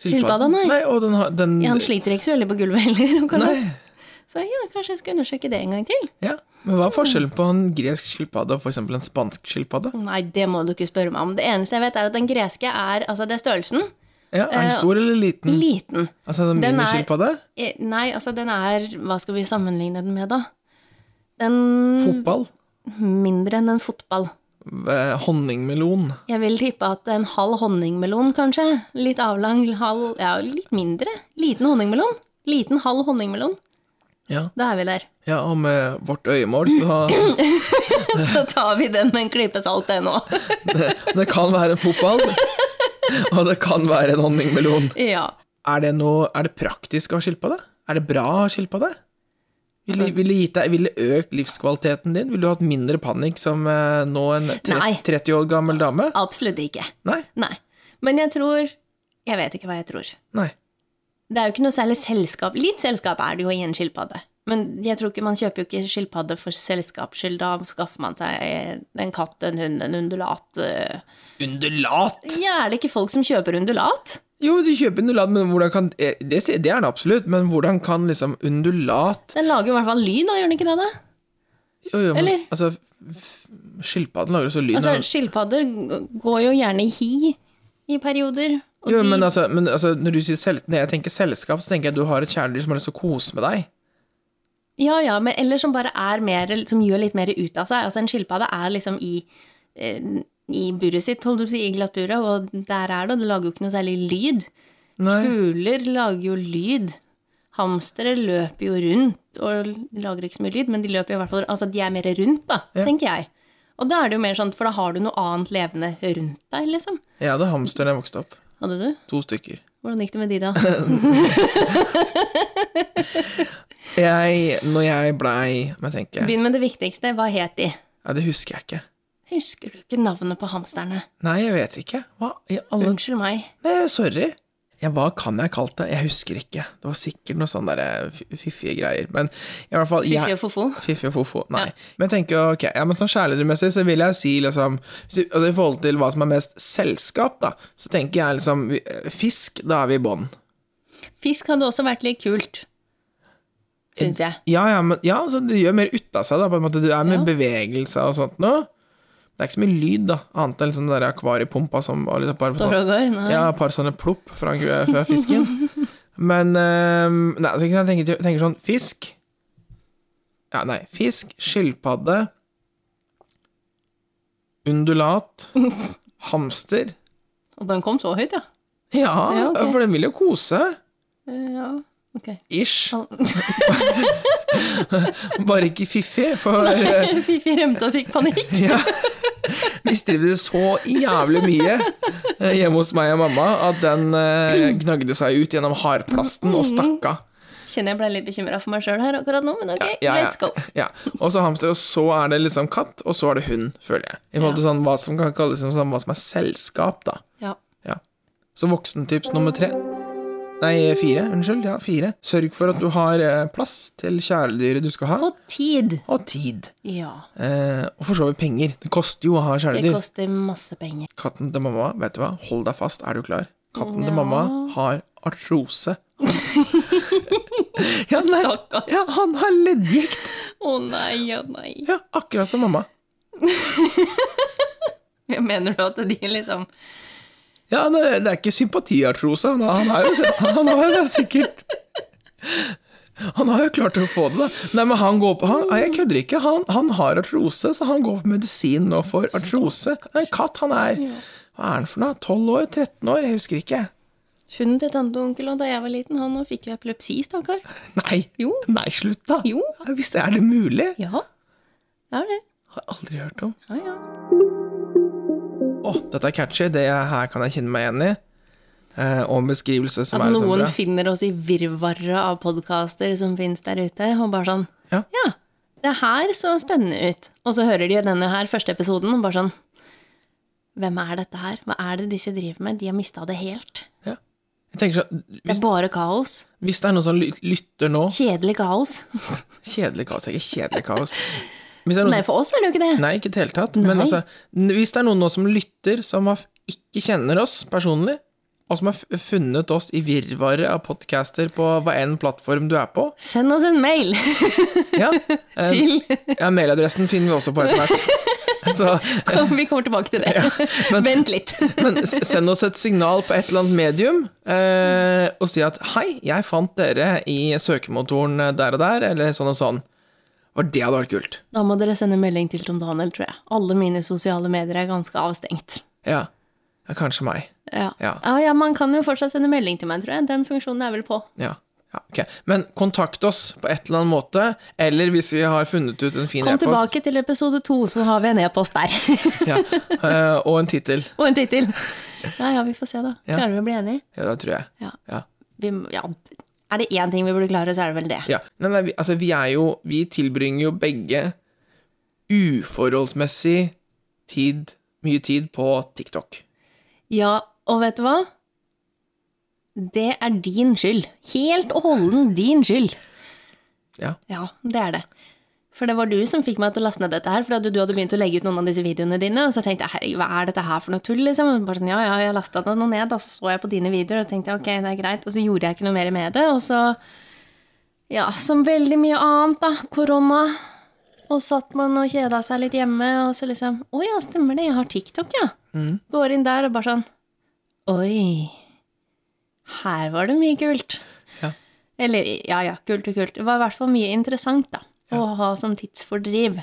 Skilpadda, nei. nei. Og den har den ja, Han sliter ikke så veldig på gulvet heller. og Nei. katt. Så ja, kanskje jeg skal undersøke det en gang til. Ja. Men hva er forskjellen på en gresk skilpadde og for eksempel en spansk skilpadde? Nei, det må du ikke spørre meg om. Det eneste jeg vet, er at den greske er Altså, det er størrelsen. Ja, Er den Eh, stor eller liten? Liten. Altså en den er- miniskilpadde? Eh, Nei, altså den er Hva skal vi sammenligne den med, da? Den Fotball? mindre enn en fotball. Eh, Honningmelon? Jeg vil tippe at en halv honningmelon, kanskje. Litt avlang, halv Ja, litt mindre. Liten honningmelon. Liten halv honningmelon. Ja. Da er vi der. ja, og med vårt øyemål, så Så tar vi den med en klype salt, det nå. Det kan være en fotball, og det kan være en honningmelon. Ja. Er det, noe, er det praktisk å ha skilpadde? Er det bra å ha skilpadde? Ville Altså- vil det gitt deg- vil det økt livskvaliteten din? Ville du hatt mindre panikk som eh, nå en tre- Nei. 30 år gammel dame? Absolutt ikke. Nei. Nei. Men jeg tror Jeg vet ikke hva jeg tror. Nei. Det er jo ikke noe særlig selskap. Litt selskap er det jo i en skilpadde. Men jeg tror ikke man kjøper jo ikke skilpadde for selskaps skyld. Da skaffer man seg en katt, en hund, en undulat øh. Undulat! Ja, er det ikke folk som kjøper undulat? Jo, du kjøper undulat, men hvordan kan eh, Det, det er det absolutt, men hvordan kan liksom undulat Den lager i hvert fall lyd, da, gjør den ikke det? da? jo, jo, men, Eller? Altså, f- skilpadden lager jo så lyd Altså, når- Skilpadder går jo gjerne i hi i perioder. Og jo, de, men, altså, men altså, når, du sier sel når jeg tenker selskap, så tenker jeg at du har et kjæledyr som har lyst til å kose med deg. ja, ja, men eller som bare er mer, som gjør litt mer ut av seg. Altså, en skilpadde er liksom i, eh, i buret sitt, holdt du på å si, i glattburet, og der er det, og det lager jo ikke noe særlig lyd. Nei. Fugler lager jo lyd. Hamstere løper jo rundt og lager ikke så mye lyd, men de løper jo i hvert fall Altså, de er mer rundt, da, Ja. tenker jeg. Og da er det jo mer sånn, for da har du noe annet levende rundt deg, liksom. Jeg hadde hamster da jeg vokste opp. Hadde du? To stykker. Hvordan gikk det med de, da? Jeg, når jeg blei Må jeg tenke. Begynn med det viktigste. Hva het de? Ja, det husker jeg ikke. Husker du ikke navnet på hamsterne? Nei, jeg vet ikke. Hva i alle Unnskyld meg. Nei, sorry. Ja, hva kan jeg kalt det? Jeg husker ikke. Det var sikkert noe sånn derre fiffige greier. Men i hvert fall jeg- Fiffi og Fofo? Fiffi og fofo. Nei. Ja. Men jeg tenker, ok, ja, men sånn kjæledyrmessig så vil jeg si liksom hvis vi- altså, I forhold til hva som er mest selskap, da, så tenker jeg liksom vi- eh, Fisk, da er vi i bånn. Fisk hadde også vært litt kult, syns jeg. Ja, ja, men ja, altså, det gjør mer ut av seg, da, på en måte. Det er mer Ja. bevegelse og sånt nå. Det er ikke så mye lyd, da, annet enn liksom den der akvariepumpa som var litt et par, Står og går. Nei. ja, et par sånne plopp fra, fra fisken. Men ehm, Nei, altså, jeg tenker, tenker sånn Fisk Ja, nei. Fisk, skilpadde Undulat. Hamster. Og den kom så høyt, ja. Ja, Ja, ok. for den vil jo kose. Eh, Ja, ok. Ish. Al- Bare ikke fiffig, for eh, Fiffi rømte og fikk panikk. ja. Mistrivdes så jævlig mye eh, hjemme hos meg og mamma at den eh, gnagde seg ut gjennom hardplasten Mm. og stakk av. Kjenner jeg ble litt bekymra for meg sjøl her akkurat nå, men ok, Ja, ja. let's go. Ja. Og så hamster, og så er det liksom katt, og så er det hund, føler jeg. I forhold til sånn, hva som kan kalles som sånn, hva som er selskap, da. Ja. Ja. Så voksentips nummer tre. Nei, fire. Unnskyld. Ja, fire. Sørg for at du har eh, plass til kjæledyret du skal ha, Og tid. og tid. Ja. Eh, og for så vidt penger. Det koster jo å ha Det kjæledyr. koster masse penger. Katten til mamma, vet du hva, hold deg fast, er du klar? Katten til mamma har artrose. ja, den er- Stakkar. ja, han har leddgikt. Å nei, å nei. Ja, akkurat som mamma. Mener du at de liksom Ja, det, det er ikke sympatiartrose. Han, har- han, er jo, han har jo sikkert Han har jo klart å få det, da. Nei, men han går på han, nei, Jeg kødder ikke. Han, han har artrose, så han går på medisin nå for artrose. Det er En katt, han er Hva er han for noe? 12 år? 13 år? Jeg husker ikke. Hunden til tante og onkel og da jeg var liten, han nå fikk jo epilepsi, stakkar. Nei, Jo. nei slutt, da. Jo. Hvis det er det mulig. Ja. Det er det. Har aldri hørt om. Ja, ja. Å, dette er catchy. Det er- her kan jeg kjenne meg igjen i. Eh, og en beskrivelse som At er sånn noen bra. finner oss i virvaret av podkaster som finnes der ute, og bare sånn Ja. det her så spennende ut. Og så hører de denne her første episoden, og bare sånn Hvem er dette her? Hva er det disse driver med? De har mista det helt. Ja. Jeg tenker sånn, Det hvis, er bare kaos. hvis det er noen som ly- lytter nå Kjedelig kaos. Kjedelig kaos er ikke kjedelig kaos. Hvis det er noen Nei, for oss er det jo ikke det. som, nei, ikke i det hele tatt. Men Nei. altså, n- hvis det er noen nå som lytter, som har f- ikke kjenner oss personlig, og som har f- funnet oss i virvaret av podcaster på hva enn plattform du er på Send oss en mail ja, eh, til ja, Mailadressen finner vi også på etter hvert. Så, Vi kommer tilbake til det. Vent litt. men s- send oss et signal på et eller annet medium eh, og si at 'hei, jeg fant dere i søkemotoren eh, der og der', eller sånn og sånn. Og det hadde vært kult. Da må dere sende melding til Tom Daniel, tror jeg. Alle mine sosiale medier er ganske avstengt. Ja. ja kanskje meg. Ja. Ja. Ah, ja, man kan jo fortsatt sende melding til meg, tror jeg. Den funksjonen er vel på. Ja. ja ok. Men kontakt oss på et eller annet måte, eller hvis vi har funnet ut en fin Kom e-post. tilbake til episode to, så har vi en e-post der. Ja. eh, og en tittel. Og en tittel. Ja, ja, vi får se, da. Ja. Klarer vi å bli enige? Ja, det tror jeg. Ja. Ja. Vi, må- ja. Er det én ting vi burde klare, så er det vel det. ja. Nei, nei, vi, altså, vi er jo Vi tilbringer jo begge uforholdsmessig tid, mye tid, på TikTok. Ja, og vet du hva? Det er din skyld. Helt og holden din skyld. Ja. Ja, det er det. For det var du som fikk meg til å laste ned dette her, for at du hadde begynt å legge ut noen av disse videoene dine, og så tenkte jeg, herregud, hva er dette her for noe tull, liksom? Og Bare sånn, ja, ja, jeg lastet det noe ned, og så så jeg på dine videoer, og så tenkte jeg, ok, det er greit, og så gjorde jeg ikke noe mer med det, og så, ja, som veldig mye annet da, korona, og satt man og kjeda seg litt hjemme, og så liksom, å ja, stemmer det, jeg har TikTok, ja. Går inn der og bare sånn, oi, her var det mye kult. Eller ja, ja, kult og kult. Det var i hvert fall mye interessant da, å ha som tidsfordriv.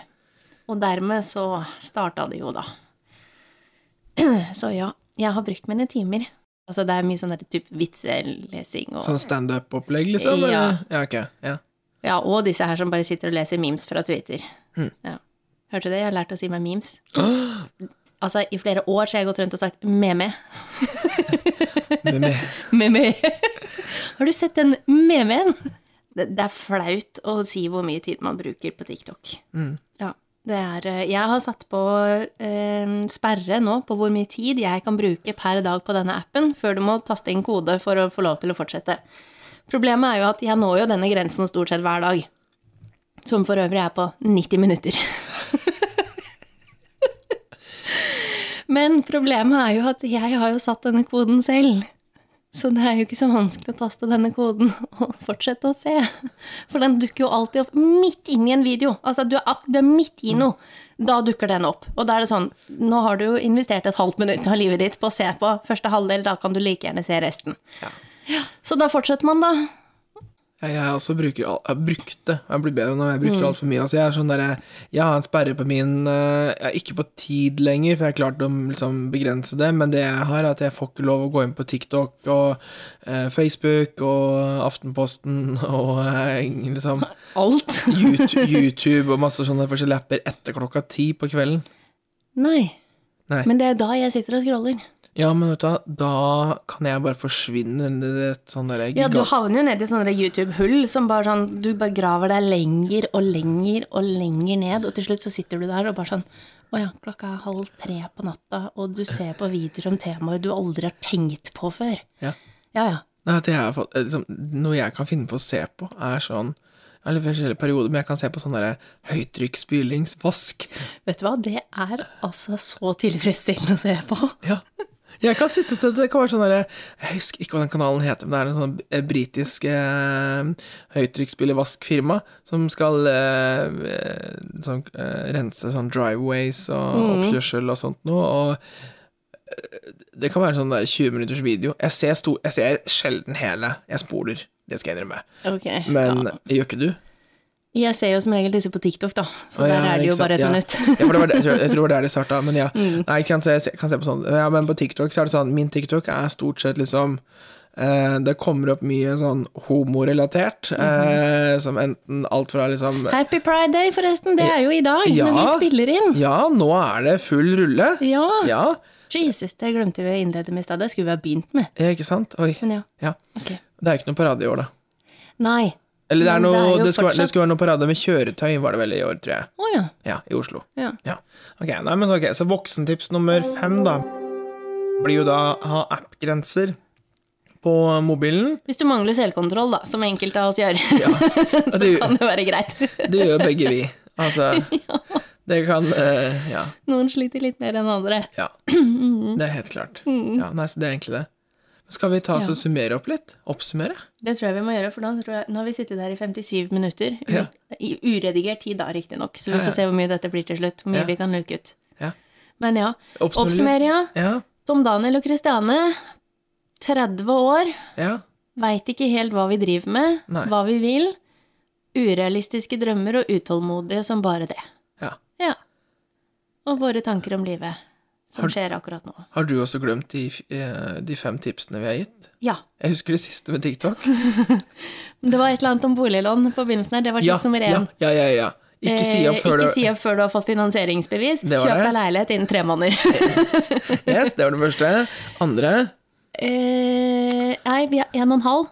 Og dermed så starta det jo, da. Så ja, jeg har brukt mine timer. Altså det er mye sånn der type vitselesing og Sånn standup-opplegg, liksom? Ja. eller? ja ok. Ja. Ja, og disse her som bare sitter og leser memes fra Twitter. Ja. Hørte du det? Jeg har lært å si meg memes. Altså, i flere år så har jeg gått rundt og sagt meme. Med, med. Meme. Har du sett den memen? Det, det er flaut å si hvor mye tid man bruker på TikTok. Ja, det er, eh, jeg har satt på eh, sperre nå på hvor mye tid jeg kan bruke per dag på denne appen, før du må taste inn kode for å få lov til å fortsette. Problemet er jo at jeg når jo denne grensen stort sett hver dag. Som for øvrig er på 90 minutter. Men problemet er jo at jeg har jo satt denne koden selv. Så det er jo ikke så vanskelig å taste denne koden og fortsette å se. For den dukker jo alltid opp midt inn i en video. Altså, du er, ak- du er midt i noe. Da dukker den opp. Og da er det sånn, nå har du jo investert et halvt minutt av livet ditt på å se på første halvdel, da kan du like gjerne se resten. Ja, Så da fortsetter man, da. Ja, Jeg også bruker al- Jeg brukte Jeg blir bedre når jeg brukte alt altfor mye. Altså, jeg er sånn der, Jeg har en sperre på min eh, Jeg er ikke på tid lenger, for jeg har klart å liksom, begrense det, men det jeg har, er at jeg får ikke lov å gå inn på TikTok og eh, Facebook og Aftenposten og eh, liksom Alt. YouTube, YouTube og masse sånne forskjellige apper etter klokka ti på kvelden. Nei. Nei. Men det er jo da jeg sitter og scroller. Ja, men vet du hva, da kan jeg bare forsvinne inn i et sånn derre Ja, du havner jo nedi sånne YouTube-hull som bare sånn Du bare graver deg lenger og lenger og lenger ned, og til slutt så sitter du der og bare sånn Å ja, klokka er halv tre på natta, og du ser på videoer om temaer du aldri har tenkt på før. Ja. Ja ja, Nei, at jeg har fått, eh, liksom, noe jeg kan finne på å se på, er sånn jeg har litt forskjellige perioder, men jeg kan se på sånn derre høytrykksspylingsvask. Vet du hva, det er altså så tilfredsstillende å se på. Ja. Jeg kan sitte til det kan være sånn derre Jeg husker ikke hva den kanalen heter, men det er en sånn eh, britisk eh, høytrykksspylevaskfirma som skal eh, eh, sånn, eh, rense sånn driveways og oppkjørsel og sånt noe, og eh, det kan være sånn der 20 minutters video. Jeg ser, sto, jeg ser sjelden hele. Jeg spoler. Det skal jeg innrømme. Ok. Men ja. gjør ikke du? Jeg ser jo som regel disse på TikTok, da, så Å, ja, der er det jo ikke bare sant, et ja. minutt. Mm. Ja, for det var det, jeg, tror, jeg tror det er det starta, men ja. Nei, ikke sant, så jeg se- kan se på sånn Ja, men på TikTok så er det sånn Min TikTok er stort sett liksom eh, Det kommer opp mye sånn homorelatert, Mhm. eh, som enten alt fra liksom Happy Pride Day, forresten. Det er jo i dag, Ja. når vi spiller inn. Ja, nå er det full rulle. Ja. Ja, Jesus, det glemte vi å innlede med i stad. Det skulle vi ha begynt med. eh, ikke sant? Oi. Men ja. Ja. Ok. Det er ikke noe parade i år, da. Nei. Eller det, er Men det noe, er det, jo skulle, være- det fortsatt- skulle være noe parade med kjøretøy, var det vel i år, tror jeg. Å ja. Ja, i Oslo. ja. Ja. Ok, nei, men så, ok, så voksentips nummer fem, da, blir jo da ha app-grenser på mobilen. Hvis du mangler selvkontroll, da, som enkelte av oss gjør, så det- kan det være greit. Det gjør begge vi. Altså, det kan eh, ja, Noen sliter litt mer enn andre. Mm. ja. Det er helt klart. Ja, nei, så det er egentlig det. Men skal vi ta oss og summere opp litt? Oppsummere? Det tror jeg vi må gjøre, for nå, tror jeg, nå har vi sittet her i 57 minutter. u- Ja. I uredigert tid, da, riktignok. Så vi Ja, ja. får se hvor mye dette blir til slutt. Hvor mye Ja. vi kan luke ut. Ja. Men ja. Oppsummere litt? Oppsummer, ja. Ja. Tom Daniel og Kristiane, 30 år, ja. veit ikke helt hva vi driver med, Nei. hva vi vil. Urealistiske drømmer og utålmodige som bare det. ja. Ja. Og våre tanker om livet, som Har- skjer akkurat nå. Har du også glemt de, f- eh, de fem tipsene vi har gitt? Ja. Jeg husker det siste med TikTok. Det var et eller annet om boliglån på begynnelsen her. Det var tips nummer ja, én. ja, ja, ja. Ikke si opp Eh, før ikke du si opp før du har fått finansieringsbevis. Det var Kjøp det. deg leilighet innen tre måneder. Yes, det var det første. Andre eh, nei, vi har en og en halv.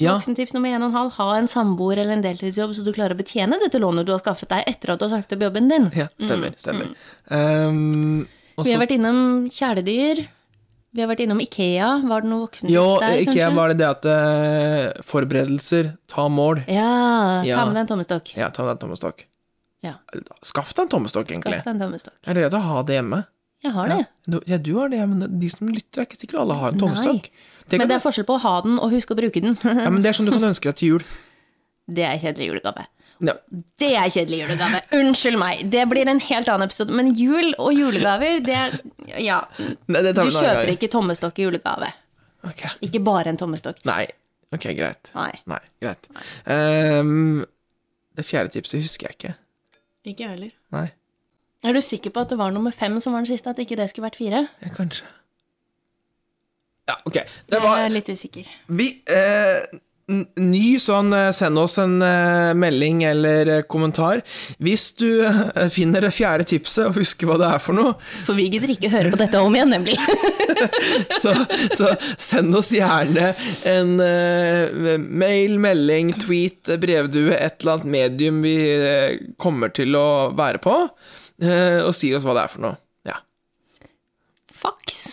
Ja. Voksentips nummer en og en halv. Ha en samboer eller en deltidsjobb, så du klarer å betjene dette lånet du har skaffet deg etter at du har sagt opp jobben din. ja stemmer. Stemmer. Um, og Mm, Vi så- har vært innom kjæledyr. Vi har vært innom Ikea. Var det noe voksentips jo, der, ikke kanskje? jeg, var det det at eh, Forberedelser, ta mål. Ja, ta Ja. med deg en tommestokk. Ja, ta deg en tommestokk. Ja. Skaff deg en tommestokk, egentlig. Skaff deg en tommestokk. Er det greit å ha det hjemme? Jeg har det. Ja. Du- Ja, du har det, men de som lytter, er ikke sikkert alle har en tommestokk. Det kan, Men det er forskjell på å ha den og huske å bruke den. ja, men det er sånn du kan ønske deg til jul. det er kjedelig julegave. Ja. Det er kjedelig julegave. Unnskyld meg. Det blir en helt annen episode. Men jul og julegaver, det er Ja. Nei, det Du tar vi en annen kjøper gang. ikke tommestokk i julegave. Ok. Ikke bare en tommestokk. Nei. Ok, greit. Nei. Nei, greit. Ehm, det fjerde tipset husker jeg ikke. Ikke jeg heller. Nei, Er du sikker på at det var nummer fem som var den siste? At ikke det skulle vært fire? ja, kanskje. Ja, ok. Det Jeg var er litt usikker. Vi eh, n- Ny sånn eh, Send oss en eh, melding eller eh, kommentar. Hvis du eh, finner det fjerde tipset og husker hva det er for noe, For vi gidder ikke høre på dette om igjen, nemlig. så, så send oss gjerne en eh, mail, melding, tweet, eh, brevdue, et eller annet medium vi eh, kommer til å være på, eh, og si oss hva det er for noe. Ja. Fax.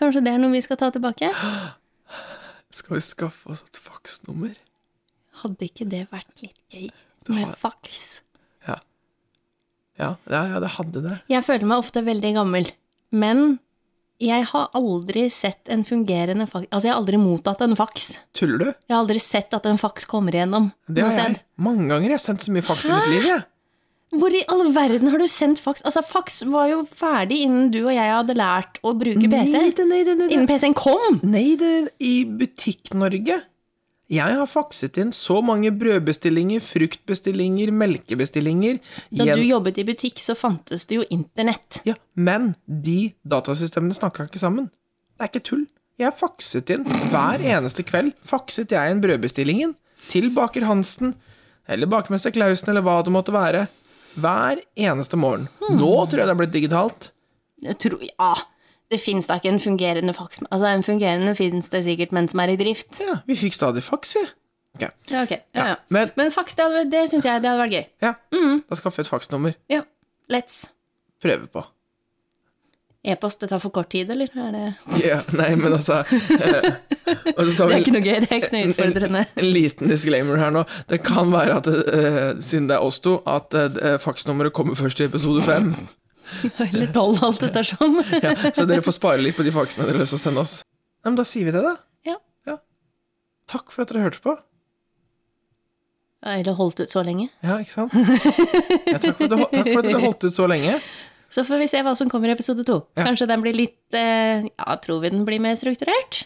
Kanskje det er noe vi skal ta tilbake? Skal vi skaffe oss et faksnummer? Hadde ikke det vært litt gøy med fax? Ja. Ja, ja, ja, det hadde det. Jeg føler meg ofte veldig gammel, men jeg har aldri sett en fungerende fax Altså, jeg har aldri mottatt en fax. Tuller du? Jeg har aldri sett at en fax kommer igjennom Det noe har jeg. sted. Mange ganger jeg har sendt så mye faks i mitt liv. Jeg. Hvor i all verden har du sendt fax? Altså, fax var jo ferdig innen du og jeg hadde lært å bruke Nei, PC. det, nei, det, nei, det. Innen PC-en kom! nei det, i Butikk-Norge. Jeg har fakset inn så mange brødbestillinger, fruktbestillinger, melkebestillinger Da igjen- du jobbet i butikk, så fantes det jo internett. ja, Men de datasystemene snakka ikke sammen. Det er ikke tull. Jeg har fakset inn hver eneste kveld. Fakset jeg inn brødbestillingen til baker Hansen eller bakmester Klausen eller hva det måtte være. Hver eneste morgen. Hmm. Nå tror jeg det har blitt digitalt. Jeg tror, ja, det fins da ikke en fungerende fax Altså, en fungerende fins det sikkert, men som er i drift. Ja, vi fikk stadig faks, vi. Ok. Ja, ok. Ja, ja. Men Men fax, det, hadde- det syns jeg det hadde vært gøy. Ja, da skaffer vi et faksnummer. Ja. Let's. Prøve på. E-post, det tar for kort tid, eller? Er det... Ja, nei, men altså eh, Og så tar det vi er en, ikke noe gøy, det er ikke noe utfordrende. en liten disclaimer her nå. Det kan være at, eh, siden det er oss to, at eh, faksnummeret kommer først i episode fem. Eller tolv, alt ettersom. Ja, så dere får spare litt på de faksene dere har lyst til å sende oss. Ja, men da sier vi det, da. Ja. Takk for at dere hørte på. Eller holdt ut så lenge. Ja, ikke sant? Ja, takk, for at du, takk for at dere holdt ut så lenge. Så får vi se hva som kommer i episode to. Ja. Kanskje den blir litt eh, Ja, tror vi den blir mer strukturert?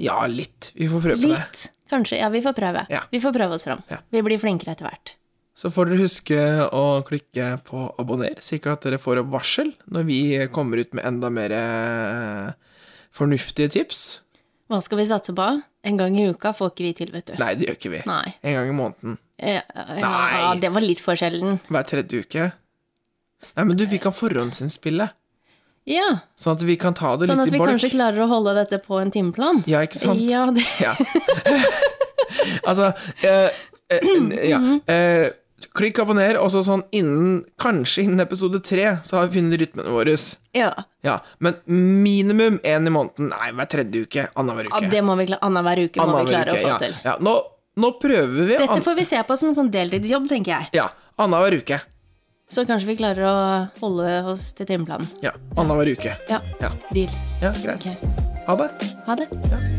Ja, litt. Vi får prøve på det. Litt, kanskje. Ja, vi får prøve. Ja. Vi får prøve oss fram. Ja. Vi blir flinkere etter hvert. Så får dere huske å klikke på abonner, slik at dere får varsel når vi kommer ut med enda mer eh, fornuftige tips. Hva skal vi satse på? En gang i uka får ikke vi til, vet du. Nei, det gjør ikke vi. Nei. En gang i måneden. Eh, eh, Ja, Nei. det var litt for sjelden. Hver tredje uke. Nei, men du, vi kan forhåndsinnspille, Ja. sånn at vi kan ta det Sånn at litt i vi bolk. kanskje klarer å holde dette på en timeplan. Ja, ikke sant? Ja, det, Ja. altså eh, eh, Ja. Eh, klikk abonner, og så sånn innen Kanskje innen episode tre, så har vi funnet rytmene våre. ja. Ja, men minimum én i måneden. Nei, hver tredje uke. Annenhver ja uke. det må vi klare. Annenhver uke må Annenhver vi klare å uke, ja. få til. Ja, nå, nå prøver vi Dette an får vi se på som en sånn deltidsjobb, tenker jeg. Ja, annenhver uke. Så kanskje vi klarer å holde oss til timeplanen. Ja, annenhver uke. Ja. Ja. Deal. Ja, greit. Ok. Ha det. Ha det. Ja.